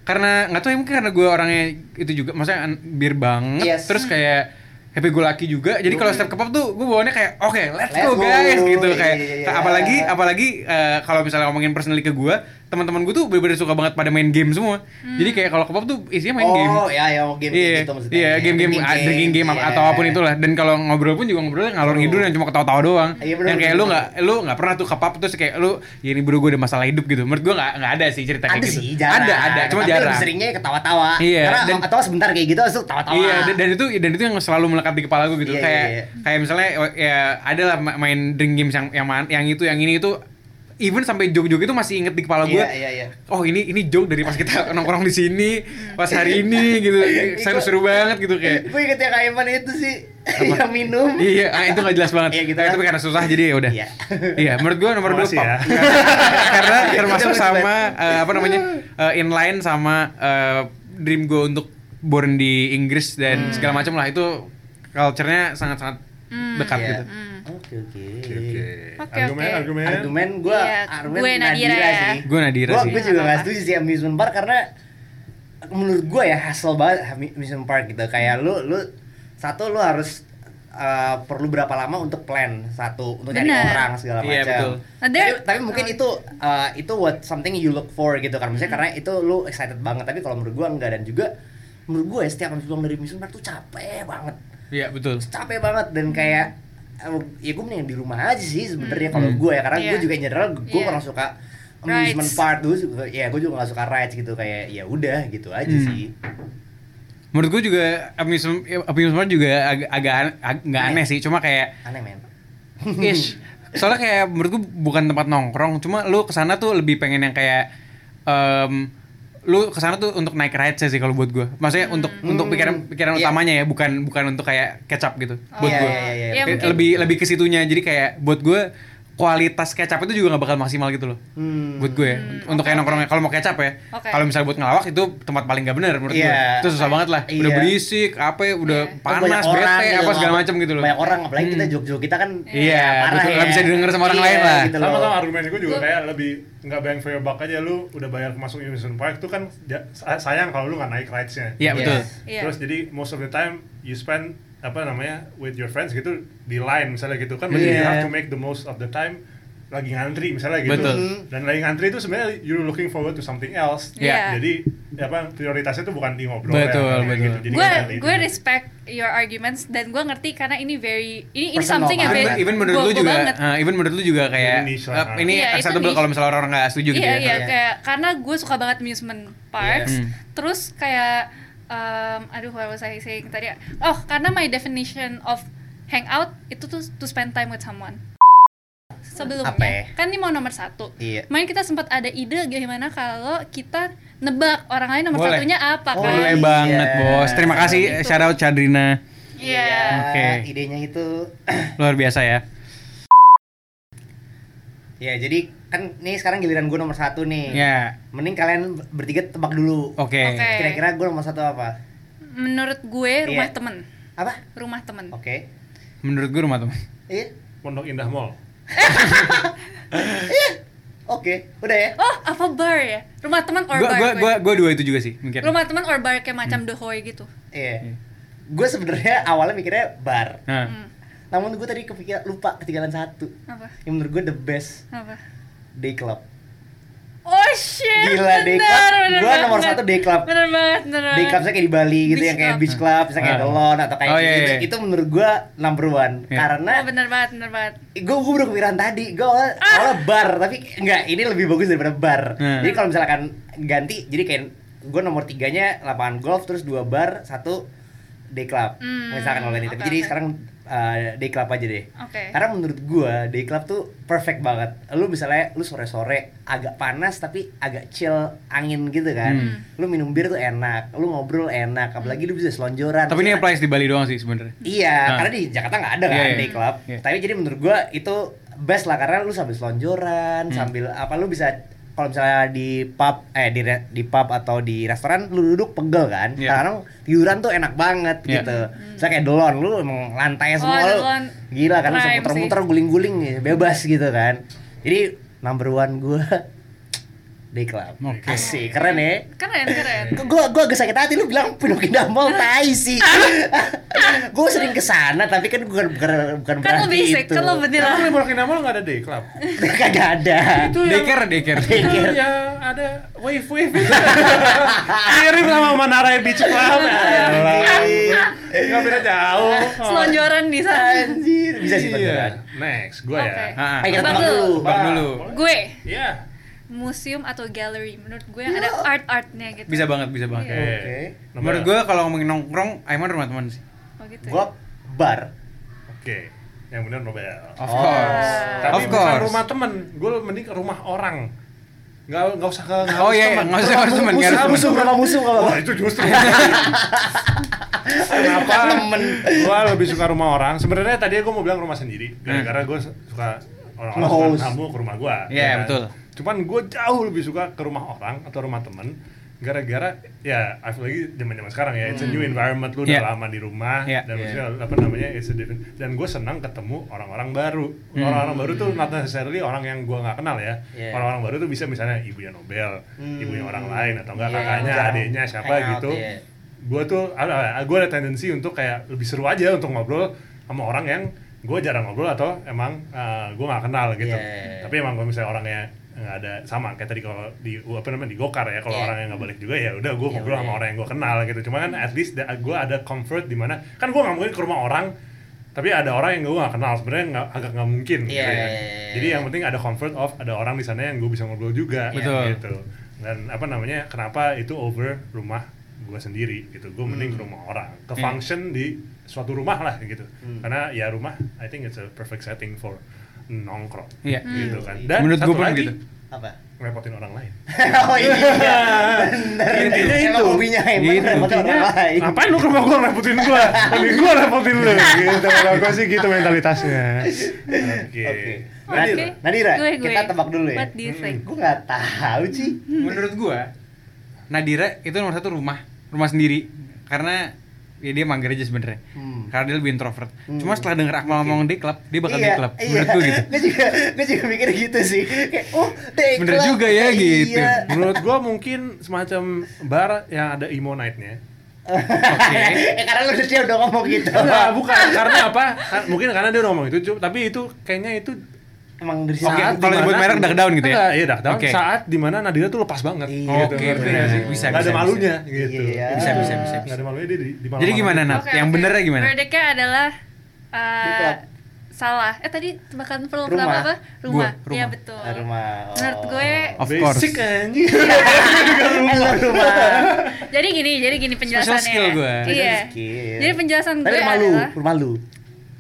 karena nggak tahu ya mungkin karena gue orangnya itu juga maksudnya an- bir banget
Yes.
terus kayak happy go lucky juga jadi kalau setiap ke pub tuh gue bawaannya kayak oke let's,
Let's
go
go.
guys gitu kayak
Iya, iya, iya.
apalagi apalagi eh, kalau misalnya ngomongin personally ke gue teman-teman gue tuh bener-bener suka banget pada main game semua. Jadi kayak kalau ke pub tuh isinya main game.
oh ya ya game
Iya,
gitu maksudnya
iya game-game ah, drinking game
iya.
apa- atau apapun itulah. Dan kalau ngobrol pun juga ngobrolnya ngalor ngidul yang cuma ketawa-tawa doang.
Iya, bener,
yang kayak
bener.
lu nggak lu nggak pernah tuh ke pub terus kayak lu ya ini bro gue ada masalah hidup gitu. Menurut gue nggak nggak ada sih cerita kayak
ada
gitu.
sih jarang
Ada ada, cuma
Tapi
jarang.
lebih seringnya ya ketawa-tawa
Iya,
karena
dan-
kalau ketawa sebentar kayak gitu langsung tawa-tawa
Iya, dan, dan itu dan itu yang selalu melekat di kepala gue gitu.
Iya,
kayak
iya, iya.
kayak misalnya oh, ya adalah ma- main drink games yang yang man- yang itu yang ini itu even sampai joke-joke itu masih inget di kepala gue.
iya iya iya
Oh ini ini joke dari pas kita nongkrong di sini pas hari ini gitu. Seru seru banget gitu kayak.
gue inget yang Aiman itu sih yang minum
Iya, ah, itu gak jelas banget.
Iya, gitu
Tapi-
kan.
Tapi karena susah jadi ya udah.
Iya.
Iya, menurut gua nomor dua
Makasih
pop.
ya.
Karena
Iya,
termasuk
betul,
sama eh, apa namanya? eh, inline sama eh, dream gue untuk born di
Hmm.
Inggris dan segala macam lah itu culture-nya sangat-sangat dekat
Iya.
gitu.
oke oke
Oke.
Oke,
Argumen,
oke.
argumen.
argumen gue
Iya, gue Nadira ya.
Gue Nadira
Gua-
sih.
Gue juga
Iya, nggak
nggak
apa-apa.
setuju sih amusement park karena menurut gue ya hassle banget ami- amusement park gitu. Kayak lu lu satu lu harus eh, perlu berapa lama untuk plan satu untuk cari
Benar.
orang segala
Iya, betul.
macam.
Nah,
Tapi,
there-
tapi mungkin itu eh, itu what something you look for gitu kan. Maksudnya
Hmm.
karena itu lu excited banget. Tapi kalau menurut gue enggak dan juga menurut gue ya, setiap habis pulang dari amusement park tuh capek banget
Iya, betul.
capek banget dan kayak eh, ya gue mending di rumah aja sih sebenarnya kalau
Hmm.
gue ya karena
Iya.
gue juga in general gue
Iya.
kurang suka amusement
Rides.
park dulu juga- ya gue juga gak suka rides gitu kayak ya udah gitu aja
Hmm.
sih
Menurut gue juga amusement amusement park juga agak agak an- ag- nggak
Iya.
aneh sih, cuma kayak
aneh men
ish soalnya kayak menurut gue bukan tempat nongkrong cuma lu kesana tuh lebih pengen yang kayak em, lu kesana tuh untuk naik ride sih kalau buat gue maksudnya untuk untuk pikiran pikiran
Hmm. Iya.
utamanya ya bukan bukan untuk kayak kecap gitu buat
Iya,
gue
iya, iya,
Ya,
iya.
mungkin.
lebih lebih ke situnya jadi kayak buat gue kualitas kecap itu juga gak bakal maksimal gitu loh
Hmm.
buat gue ya. untuk kayak nongkrongnya kalau mau kecap ya
Oke.
kalau misalnya buat ngelawak itu tempat paling gak bener menurut
Iya.
gue itu susah banget lah udah
Iya.
berisik apa ya, udah
Iya.
panas
Banyak orang
bete
gitu
apa
loh.
segala macam gitu loh
banyak orang apalagi kita
Hmm.
jog-jog kita kan
Iya,
parah
betul. Nggak bisa didengar sama orang
Iya,
lain lah.
gitu loh.
sama sama argumen gue juga
Gua-
kayak lebih nggak bang for your buck aja lu udah bayar masuk Univision Park tuh kan ja- sa- sayang kalau lu nggak naik rides-nya
Iya, betul
Iya.
terus jadi most of the time you spend apa namanya with your friends gitu di line misalnya gitu kan
Iya.
berarti you have to make the most of the time lagi ngantri misalnya gitu
Betul.
dan lagi ngantri itu sebenarnya you're looking forward to something else
Mm-hmm. Iya.
jadi apa prioritasnya itu bukan di ngobrol ya, gitu.
Betul, betul.
Jadi
gue
nggak ada
gue
itu.
respect your arguments dan gue ngerti karena ini very ini ini
Personal
something yang
banget.
even,
very
even menurut
gua-
lu
gua
juga
banget.
eh, even menurut lu juga kayak
Ini niche
eh,
lah.
ini
Iya, itu
acceptable
niche.
kalau misalnya orang-orang nggak setuju gitu
iya
ya
iya
Iya.
kayak karena gue suka banget amusement parks
Yes. Hmm.
terus kayak um, aduh what was I saying tadi oh karena my definition of hangout itu tuh to spend time with someone sebelumnya
Apa ya?
kan ini mau nomor satu
Iya.
main kita sempat ada ide gimana kalau kita nebak orang lain nomor
Boleh.
satunya apa
Oh,
kan
boleh
Iya.
banget bos terima kasih
Itu.
shout out Chadrina
iya
Oke.
idenya itu
luar biasa ya
ya jadi kan nih sekarang giliran gue nomor satu nih
ya
mending kalian bertiga tebak dulu
oke
Iya. Oke.
kira-kira gue nomor satu apa
menurut gue rumah
Iya.
temen
apa
rumah temen
Oh.
oke
menurut gue rumah teman
iya
Pondok Indah Mall
oke udah ya
oh apa bar ya rumah teman or
gue
bar
gue
gue.
gue gue dua itu juga sih mungkin
rumah teman or bar
Hmm.
kayak macam the hoy gitu
Iya. Gue sebenarnya awalnya mikirnya bar.
nah.
Hmm.
Namun gue tadi kepikiran lupa ketinggalan satu.
apa
Yang menurut gue the best
apa
day club.
oh shit
Gila, day club. Gua nomor satu day club.
bener banget bener
Day
banget
clubnya kayak di Bali gitu
Beach
yang kayak
club.
beach club, misalnya kayak
Ah.
The Lawn atau kayak
Oh, iya,
gitu.
iya.
Itu menurut gue number one
Iya.
karena
oh bener banget bener banget
gue gue udah kepikiran tadi gue awalnya,
Ah!
awalnya bar tapi enggak ini lebih bagus daripada bar
Hmm.
jadi kalau misalkan ganti jadi kayak gue nomor tiganya lapangan golf terus dua bar satu day club
Hmm,
misalkan kalau ini tapi
oke,
jadi
oke.
sekarang uh, day club aja deh
Oke.
karena menurut gue day club tuh perfect banget lu misalnya lu sore sore agak panas tapi agak chill angin gitu kan
Hmm.
lu minum bir tuh enak lu ngobrol enak apalagi lu bisa selonjoran
tapi ini
Terus-
applies di Bali doang sih sebenarnya
Iya,
Nah.
karena di Jakarta nggak ada kan
Iya, iya.
day club.
Iya.
Tapi jadi menurut gua itu best lah karena lu sambil selonjoran,
Hmm.
sambil apa lu bisa kalau misalnya di pub eh di re- di pub atau di restoran lu duduk pegel kan.
Iya.
Kadang-kadang tiduran tuh enak banget
Iya.
gitu. Misalnya kayak dolon lu emang lantai
Hmm. Oh,
semua lu.
Dolon.
Gila kan lu bisa
Prime
muter-muter guling-guling bebas gitu kan. Jadi number one gua Day Club.
Oke.
Asik, keren ya.
Keren, keren.
Kok Gua gua agak sakit hati lu bilang Pondok Indah Mall tai sih. gua sering ke sana tapi kan bukan bukan, bukan
Kan lo
berarti
basic,
itu.
kan lo
Emang
vanilla.
di Pondok Indah Mall nggak ada day club?
Kagak ada.
Itu yang
Deker, deker.
itu
Iya,
yang ada wave wave. Mirip sama Menara Beach Club.
Anjir.
Enggak beda jauh.
Selonjoran di sana.
Anjir, bisa sih beneran.
Iya. Next, gua ya.
Oke.
Ah,
Ayo kita
Bang
tebak
lu.
dulu.
Bang dulu.
Gue
Iya.
museum atau gallery menurut gue yang ada art-artnya gitu.
ah. Bisa banget, bisa banget.
Iya.
Oke.
Nomor-
Menurut gue kalau ngomongin nongkrong, Aiman rumah teman sih.
Oh gitu. ya?
Gua bar.
Oke. Yang benar Nobel.
Of
Oh.
course.
Nah,
Tapi
of
bukan
course.
rumah temen, gue mending ke rumah orang. Nggak, nggak usah ke nggak
Oh
harus
iya,
temen.
nggak usah harus teman, nggak
Musuh,
harus
musuh,
teman.
berapa musuh kalau
Wah itu justru Kenapa
temen.
Gua lebih suka rumah orang Sebenarnya tadi gue mau bilang rumah sendiri
Hmm.
Gara-gara gue suka orang-orang suka
Ngehost.
tamu ke rumah gua
Iya,
ya kan?
betul.
Cuman gue jauh lebih suka ke rumah orang Atau rumah temen Gara-gara ya apalagi zaman-zaman sekarang ya It's a new environment Lu
Iya.
udah lama di rumah
Iya.
Dan
Iya.
maksudnya apa namanya it's a different Dan gue senang ketemu orang-orang baru
Hmm.
Orang-orang baru tuh not necessarily orang yang gua nggak kenal ya
Iya.
Orang-orang baru tuh bisa misalnya ibunya Nobel Ibunya orang lain atau enggak
Hmm. Iya,
kakaknya,
jarang
adiknya, siapa
hangout,
gitu
iya.
gue tuh ah, ada gue ada tendensi untuk kayak lebih seru aja untuk ngobrol sama orang yang gue jarang ngobrol atau emang gue nggak kenal gitu
Yeah.
tapi emang kalau misalnya orangnya nggak ada sama kayak tadi kalau di apa namanya di gokar ya kalau
Yeah.
orangnya nggak balik juga ya udah gue
Ya
ngobrol sama
Iya. udah.
orang yang gue kenal gitu cuma kan at least gue ada comfort di mana kan gue nggak mungkin ke rumah orang tapi ada orang yang gue gak kenal sebenarnya nggak agak nggak mungkin
Yeah,
gitu ya.
yeah, yeah, yeah.
jadi yang penting ada comfort of ada orang di sana yang gue bisa ngobrol juga
Iya.
Betul.
gitu dan apa namanya kenapa itu over rumah gue sendiri gitu gue mending
Hmm.
ke rumah orang ke function di suatu rumah lah gitu
Hmm.
karena ya rumah I think it's a perfect setting for nongkrong
Iya.
Hmm.
gitu kan dan
Menurut
satu
gua pun
lagi
gitu.
Apa?
ngerepotin orang lain
Oh iya. Bener.
Intinya
Emang
itu.
hobinya emang
Gitu.
repot orang lain.
ngapain lu ke rumah gue ngerepotin gue mending gue ngerepotin lu gitu kalau gue sih gitu mentalitasnya oke
Oke.
Oke.
Nadira, Nadira,
Gue, gue.
kita tebak dulu ya.
What do you think?
Gue nggak tahu sih.
Menurut gue, Nadira itu nomor satu rumah, rumah sendiri. Karena ya dia mangger aja sebenarnya.
Hmm.
Karena dia lebih introvert.
Hmm.
Cuma setelah denger Akmal ngomong di klub, dia bakal di klub.
iya.
Menurut gue gitu.
Gue juga, gue juga mikir gitu sih. Kayak, oh, take
Bener
club.
juga ya,
Iya.
gitu.
menurut gue mungkin semacam bar yang ada emo night-nya
Oke.
eh karena lu dia udah ngomong gitu.
Nah, bukan karena apa? Kar- Mungkin karena dia udah ngomong itu, cu- tapi itu kayaknya itu
Emang dari
Oke,
saat
kalau
dimana-
nyebut merek duck down gitu ya?
Enggak, iya duck down.
Oke.
Saat dimana Nadira tuh lepas banget.
Iya,
gitu.
Oke,
Ngerti
benar.
nggak sih?
Bisa,
Nggak ada
bisa,
malunya
bisa.
gitu.
Iya.
Bisa, bisa, bisa,
Nggak ada malunya dia di, di malam.
Jadi gimana, Nat?
Oke,
yang
oke.
benernya gimana?
Verdictnya adalah eh,
Di klub.
salah. Eh tadi tebakan perlu
Rumah.
pertama apa? Rumah.
Gua,
Iya
rumah.
betul.
Ah, rumah. Oh.
Menurut gue
Of
Basic
course.
anjing.
Eh, lu rumah.
jadi gini, jadi gini penjelasannya.
skill gue.
Iya.
Skill.
Jadi penjelasan
Tapi
gue
rumah lu,
adalah
rumah lu.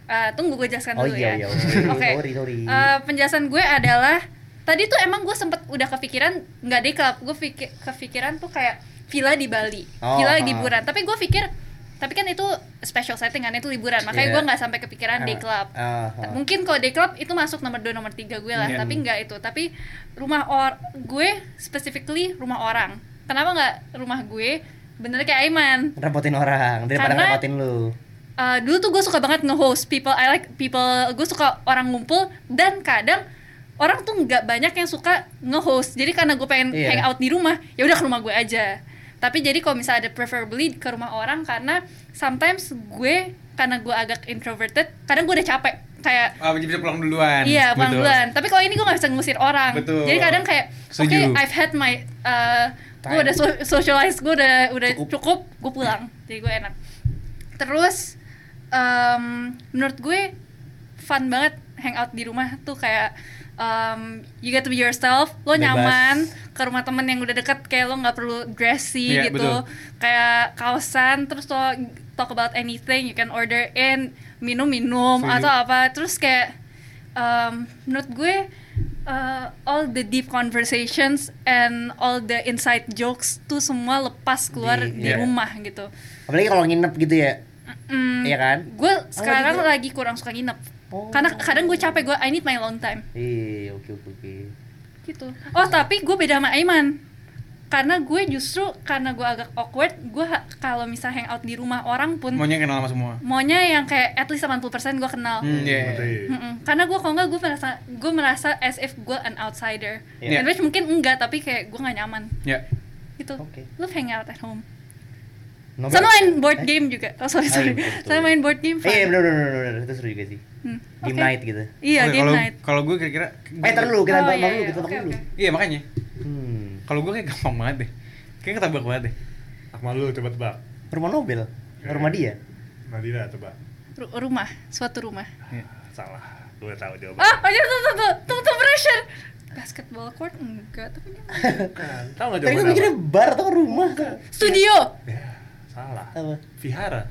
Eh, tunggu gue jelaskan
Oh
dulu
iya, iya,
ya.
oke.
Oke.
Sorry, sorry.
Eh, penjelasan gue adalah tadi tuh emang gue sempet udah kepikiran nggak deh club gue pikir kepikiran tuh kayak villa di Bali,
Oh,
villa
ah.
liburan. Tapi gue pikir tapi kan itu special setting kan itu liburan makanya
Iya.
gue nggak sampai kepikiran
Ah,
day Kan club
ah, ah.
mungkin kalau day club itu masuk nomor 2 nomor 3 gue lah
Iya.
tapi nggak itu tapi rumah or gue specifically rumah orang kenapa nggak rumah gue bener kayak Aiman
Repotin orang daripada
Karena-
repotin lu.
Uh, dulu tuh gue suka banget nge-host people I like people gue suka orang ngumpul dan kadang orang tuh nggak banyak yang suka nge-host jadi karena gue pengen
Iya.
hangout di rumah ya udah ke rumah gue aja tapi jadi kalau misalnya ada preferably ke rumah orang karena sometimes gue karena gue agak introverted kadang gue udah capek kayak
Ah, bisa pulang duluan. Gitu. Betul.
Iya, pulang duluan. Tapi kalau ini gue gak bisa ngusir orang.
Betul.
Jadi kadang kayak, oke,
Setuju.
I've had my, uh, gue
Time.
udah so- socialize, gue udah udah
Cukup.
cukup, gue pulang. Jadi gue enak. Terus, em, menurut gue fun banget hangout di rumah tuh kayak em, you get to be yourself, lo
Bebas.
nyaman ke rumah temen yang udah deket kayak lo nggak perlu dressy
Iya,
gitu,
betul.
kayak kaosan terus lo talk about anything, you can order in minum-minum
Setuju.
atau apa terus kayak um, menurut gue uh, all the deep conversations and all the inside jokes tuh semua lepas keluar
Di-
di
iya.
rumah gitu.
Apalagi kalau nginep gitu ya.
Mm,
Iya kan?
Gue sekarang
gitu.
lagi kurang suka nginep.
Oh.
Karena kadang gue capek gue I need my long time
Iya, oke oke oke.
gitu. Oh, tapi gue beda sama Aiman. karena gue justru karena gue agak awkward gue ha- kalau misalnya hangout di rumah orang pun
maunya kenal sama semua
maunya yang kayak at least 80% gue kenal
Hmm, iya.
Ngerti.
Mm-mm. Karena gue kalau nggak gue merasa gue merasa as if gue an outsider.
Iya.
And which mungkin enggak tapi kayak gue nggak nyaman
ya
gitu.
Oke.
Love hang out at home.
Nomor-
Sama main
Eh?
board game juga. Oh
Ah,
sorry sorry.
iya, betul.
Sama main board game.
Eh,
fun.
Iya, bener, bener, bener, bener, bener. Itu seru juga sih.
Hmm,
Game
oke.
night gitu.
Iya
Oke,
game
kalau-
night.
kalau gue kira-kira
Eh, ntar dulu, kita
Oh,
nonton
iya,
dulu,
iya,
kita nonton
oke,
dulu.
oke.
iya makanya
Hmm.
kalau gue kayak gampang banget deh kayak ketebak banget deh
Akmal lu coba tebak.
Rumah Nobel. Rumah dia.
Nadira tebak.
Ru- rumah, suatu rumah.
Iya.
Salah. Gue tahu jawaban.
Ah, aja tuh tuh tuh tuh tuh pressure. Basketball court enggak tapi dia
Iya.
Bukan. Tahu nggak
Tadi
jawaban
gue
Oh, apa?
mikirnya bar atau rumah.
studio.
Ya, salah.
Apa?
Vihara.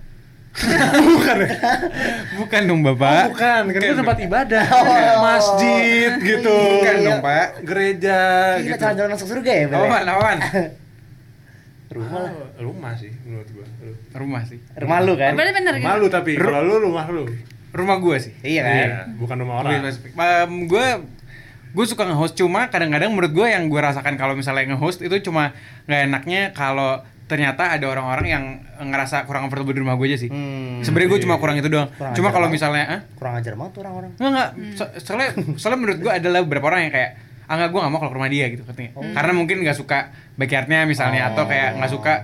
bukan dong bapak
bukan, kan itu
Bukan
tempat
dong.
ibadah.
Oh. iya.
Masjid gitu.
Bukan dong,
Pak.
Gereja
Gila,
gitu.
calon-calon masuk surga ya, Bel?
Apaan, apaan?
Rumah
Oh.
lah.
Ah, rumah sih menurut gua. Lu.
Rumah sih.
Rumah lu kan?
Berarti bener gitu.
Rumah lu tapi
Ru-
kalau lu rumah lu.
Rumah gue sih.
Iya kan?
bukan rumah orang.
gue gue suka nge-host cuma kadang-kadang menurut gue yang gue rasakan kalau misalnya nge-host itu cuma nggak enaknya kalau ternyata ada orang-orang yang ngerasa kurang comfortable di rumah gue aja sih.
Hmm.
Sebenarnya gue cuma kurang itu doang.
Kurang
cuma
ajar
kalau
banget.
misalnya ah
Kurang ajar banget tuh orang-orang.
Enggak enggak. So- soalnya soalnya menurut gua adalah beberapa orang yang kayak ah enggak gua nggak mau kalau ke rumah dia gitu katanya.
Hmm.
Karena mungkin nggak suka backyardnya misalnya atau
Oh.
kayak nggak suka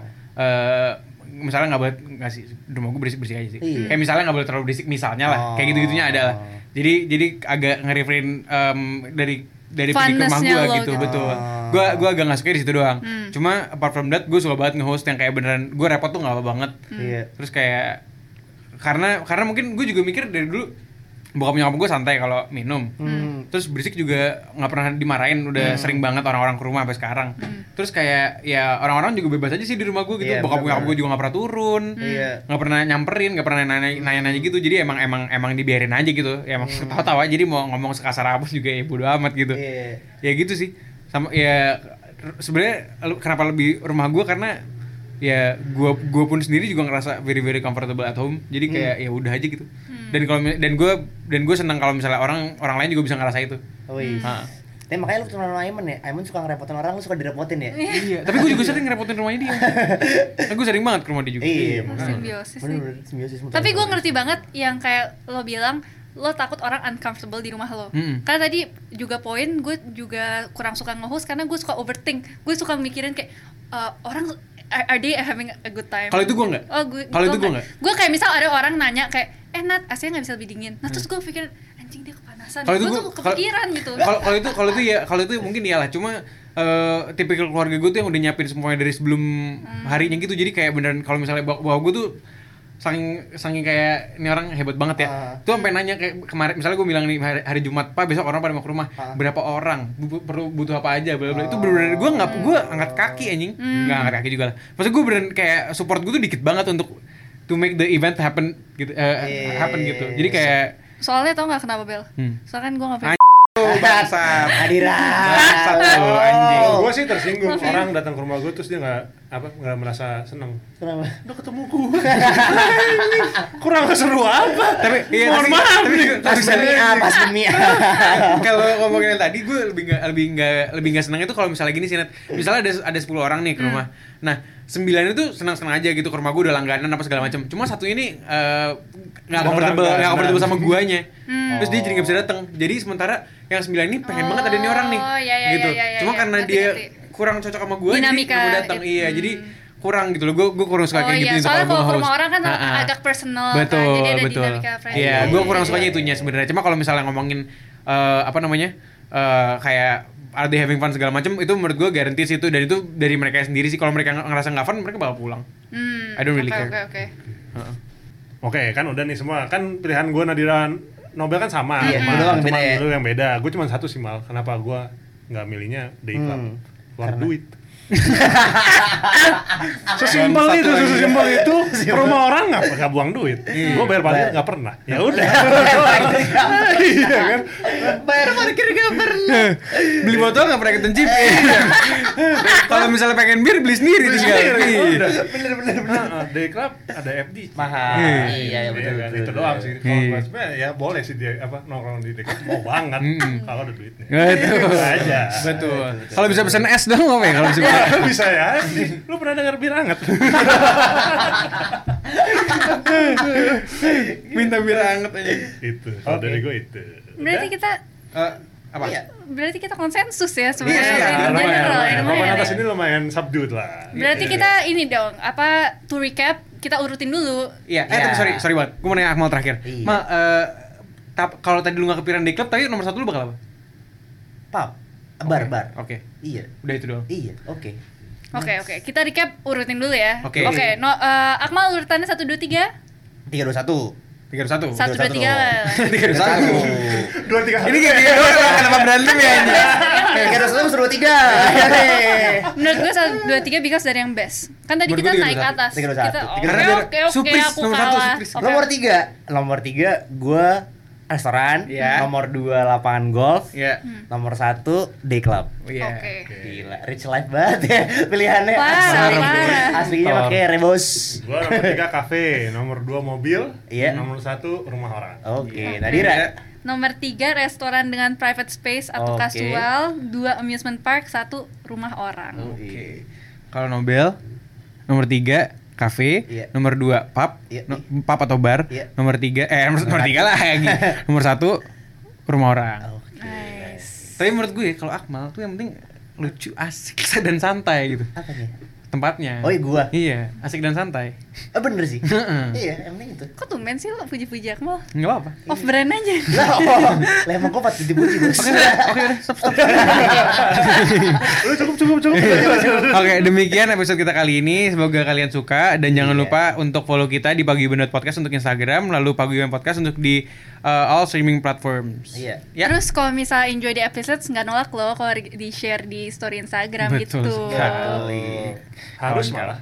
eh misalnya nggak boleh nggak sih rumah gua berisik berisik aja sih.
Iya.
Kayak misalnya nggak boleh terlalu berisik misalnya lah. Kayak
Oh.
gitu gitunya ada lah. Jadi jadi agak nge-refrain em, dari dari pergi ke rumah
Funness-nya
gua
lo
gitu,
gitu.
betul.
Oh.
Gua gua agak nggak suka di situ doang.
Hmm.
Cuma apart from that gua suka banget nge-host yang kayak beneran gua repot tuh nggak apa banget
Hmm.
Iya.
terus kayak karena karena mungkin gue juga mikir dari dulu bokap nyokap gue santai kalau minum
Hmm.
terus berisik juga nggak pernah dimarahin udah sering banget orang-orang ke rumah sampai sekarang terus kayak ya orang-orang juga bebas aja sih di rumah gue gitu
Hmm. Iya,
bokap
benar-benar.
nyokap gue juga nggak pernah turun
Hmm.
Iya.
nggak pernah nyamperin nggak pernah nanya nanya nanya gitu jadi emang emang emang dibiarin aja gitu ya emang tahu-tahu aja jadi mau ngomong sekasar apa juga ya bodo amat gitu
Hmm. Iya.
ya gitu sih sama ya r- sebenarnya lu- kenapa lebih rumah gua karena ya gua gua pun sendiri juga ngerasa very very comfortable at home jadi kayak ya udah aja gitu dan kalau mi- dan gua dan gua senang kalau misalnya orang orang lain juga bisa ngerasa itu
Wih.
Hmm.
Ha.
Oh, iya. Tapi makanya lu kenal sama Aiman ya? Aiman suka ngerepotin orang, lu suka direpotin ya?
iya tapi gua juga sering ngerepotin rumahnya dia nah, gua sering banget ke rumah dia juga Hmm.
Iya,
Simbiosis sih.
Bener-bener simbiosis mutualisme.
Tapi gue ngerti banget yang kayak lo bilang lo takut orang uncomfortable di rumah lo.
Mm-mm.
Karena tadi juga poin gue juga kurang suka nge-host karena gue suka overthink. Gue suka mikirin kayak eh, orang are, are they having a good time?
Kalau itu gue nggak.
Oh, gue
Kalau itu gue nggak.
Gue kayak misal ada orang nanya kayak eh Nat, AC-nya nggak bisa lebih dingin. Nah, terus gue pikir anjing dia kepanasan.
Hmm. Kalau
Gue
itu
tuh
gua- kalau-
kepikiran gitu.
kalau kalau itu kalau itu ya kalau itu mungkin iyalah cuma eh, tipikal keluarga gue tuh yang udah nyiapin semuanya dari sebelum harinya gitu jadi kayak beneran kalau misalnya bawa, bawa gue tuh saking saking kayak ini orang hebat banget ya
Ah.
tuh sampai nanya kayak kemarin misalnya gue bilang nih hari, hari Jumat pak besok orang pada mau ke rumah
Ah. Oh.
berapa orang Bu- perlu butuh apa aja bla bla itu bener-bener gue nggak gue angkat kaki anjing nggak angkat kaki juga lah maksud gue beneran kayak support gue tuh dikit banget untuk to make the event happen gitu eh,
Yes.
happen gitu jadi kayak
Soalnya tau nggak kenapa Bel?
Hmm.
Soalnya kan gue nggak
Anjing.
punya
oh, bangsat.
Adira.
Bangsat lu,
Oh,
anjing.
Kalau gue sih tersinggung orang datang ke rumah gue terus dia nggak apa nggak merasa seneng.
Kenapa?
Udah ketemu gue. Kurang seru apa?
tapi iya,
Mohon
tapi-
maaf
tapi,
nih.
tapi,
Pandemi
sebenarnya-
A, pandemi A.
kalau ngomongin yang tadi gue lebih nggak lebih nggak lebih nggak senang itu kalau misalnya gini sih Nat. misalnya ada ada 10 orang nih ke rumah
Hmm.
nah sembilan itu senang senang aja gitu ke rumah gue udah langganan apa segala macam cuma satu ini eh, nggak
Udah
comfortable nggak
langganan.
comfortable sama guanya
Hmm.
terus dia jadi
Oh.
nggak bisa datang jadi sementara yang sembilan ini pengen banget ada nih orang nih
Oh, iya, iya,
gitu
iya, iya,
cuma
iya.
karena
Ngerti,
dia
ngerti.
kurang cocok sama gue jadi
Dinamika,
nggak mau datang
it-
iya
hmm.
jadi kurang gitu loh gue gue kurang suka
Oh
kayak
iya,
gitu
soalnya kalau
gue
ke rumah
host.
orang kan
Ah, ah.
agak personal kan,
betul
jadi ada
betul
dinamika friendly. Hmm.
iya
Iya,
gue
iya,
kurang
iya,
sukanya
iya.
itunya sebenarnya cuma kalau misalnya ngomongin eh, apa namanya eh, kayak are they having fun segala macam itu menurut gue garantis itu dan itu dari mereka sendiri sih kalau mereka ng- ngerasa nggak fun mereka bakal pulang
Hmm,
I don't really
oke,
care.
Oke oke.
Heeh.
Oke kan udah nih semua kan pilihan gue Nadira Nobel kan sama.
Iya,
cuma-
lu doang yang
cuma
beda ya.
lu yang beda. Gue cuma satu sih mal. Kenapa gue nggak milihnya day club?
Hmm.
Keluar
Karena-
duit. sesimpel
Bangsat
itu,
lagi.
sesimpel itu. Ke rumah orang nggak nggak buang duit. Gue bayar
Iya. Bayar. Iya, kan?
parkir nggak pernah. Ya udah. Iya kan.
Bayar parkir gak pernah.
beli botol nggak pernah ketencip kalau misalnya pengen bir beli sendiri tinggal Iya.
Bener-bener. Nah, Day club ada FD.
Mahal.
Iya,
Iya,
Iya,
betul.
kan?
betul,
itu
betul.
doang sih. Kalau
Iya.
gua sebenarnya ya boleh sih dia apa nongkrong di dekat mau
Hmm.
banget kalau ada duitnya.
Betul.
Itu aja.
Betul. Kalau bisa pesan es dong, apa ya? Kalau bisa
bisa ya sih. Lu pernah dengar bir anget?
Minta bir anget aja.
itu. Kalau
Oke.
dari gue itu.
Berarti kita
Eh, apa?
Iya.
berarti kita konsensus ya
Iya,
sebenarnya.
Iya,
iya,
General,
lumayan, lumayan.
lumayan
Papan
ya.
atas ini lumayan subdued lah.
Iya,
Iya.
Berarti kita ini dong, apa to recap kita urutin dulu.
Iya, eh
Iya.
tapi sorry, sorry banget. Gue mau nanya Akmal terakhir.
Iya.
Ma, eh, tap- kalau tadi lu gak kepikiran di klub, tapi nomor satu lu bakal apa?
Pub, bar,
Oke,
bar.
Oke,
Iya,
udah itu doang.
iya, oke.
Oke, oke. Kita recap urutin dulu ya.
Nah. Oke.
Oke, no eh, Akmal urutannya 1 2 3.
Tiga dua satu.
321.
1
Satu.
2 3 lah.
Tiga dua satu.
Dua tiga
Ini kayak tiga dua satu, kenapa berantem ya? anjing?
Tiga dua satu seru tiga.
Menurut gue 1 2 3 because dari yang best. Kan tadi
Menurut
kita
gua tiga,
naik
dua,
ke
satu.
atas.
Tiga, dua, satu.
Kita
Tiga,
oke
dua,
oke oke
Supris,
aku
nomor satu,
kalah.
Supris.
Oke.
Nomor tiga, nomor tiga, gue restoran.
Iya.
Nomor dua lapangan golf.
Iya.
Nomor satu day club.
Iya.
Oke.
Gila, rich life banget ya pilihannya.
Parah,
Asli.
parah.
Aslinya
Mentor.
pakai rebos.
Gue nomor tiga kafe, nomor dua mobil,
Iya.
nomor satu rumah orang.
Iya.
Oke, Nadira.
Nomor 3 restoran dengan private space
Oke.
atau casual, 2 amusement park, 1 rumah orang.
Oke. Kalau Nobel, nomor tiga kafe,
Iya.
nomor dua pub,
Iya.
no- pub atau bar,
Iya.
nomor tiga eh nomor, nomor tiga lah lagi, nomor satu rumah orang.
Oh.
Nice.
Tapi menurut gue ya, kalau Akmal tuh yang penting lucu, asik dan santai gitu
Apa nih?
tempatnya.
Oh, iya, gua.
Iya, asik dan santai.
Ah bener sih.
Heeh.
iya, emang itu.
Kok tumben sih lo puji-puji Akmal?
Enggak apa-apa.
Off brand aja.
Lah, oh, lah emang kok patut dipuji bos.
Oke, udah, oke, udah, stop, stop.
Udah cukup cukup cukup.
Oke, demikian episode kita kali ini. Semoga kalian suka dan jangan
Iya.
lupa untuk follow kita di Pagi Benut Podcast untuk Instagram, lalu Pagi Benut Podcast untuk di uh, all streaming platforms.
Iya.
Ya.
Terus kalau misalnya enjoy the episode nggak nolak loh kalau di share di story Instagram
Betul
gitu.
sekali.
Harus
Kawan-kawan.
malah.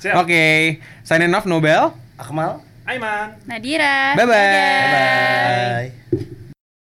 Siap.
Oke, sign signing off Nobel.
Akmal.
Aiman.
Nadira.
Bye-bye.
Dadah.
Bye-bye.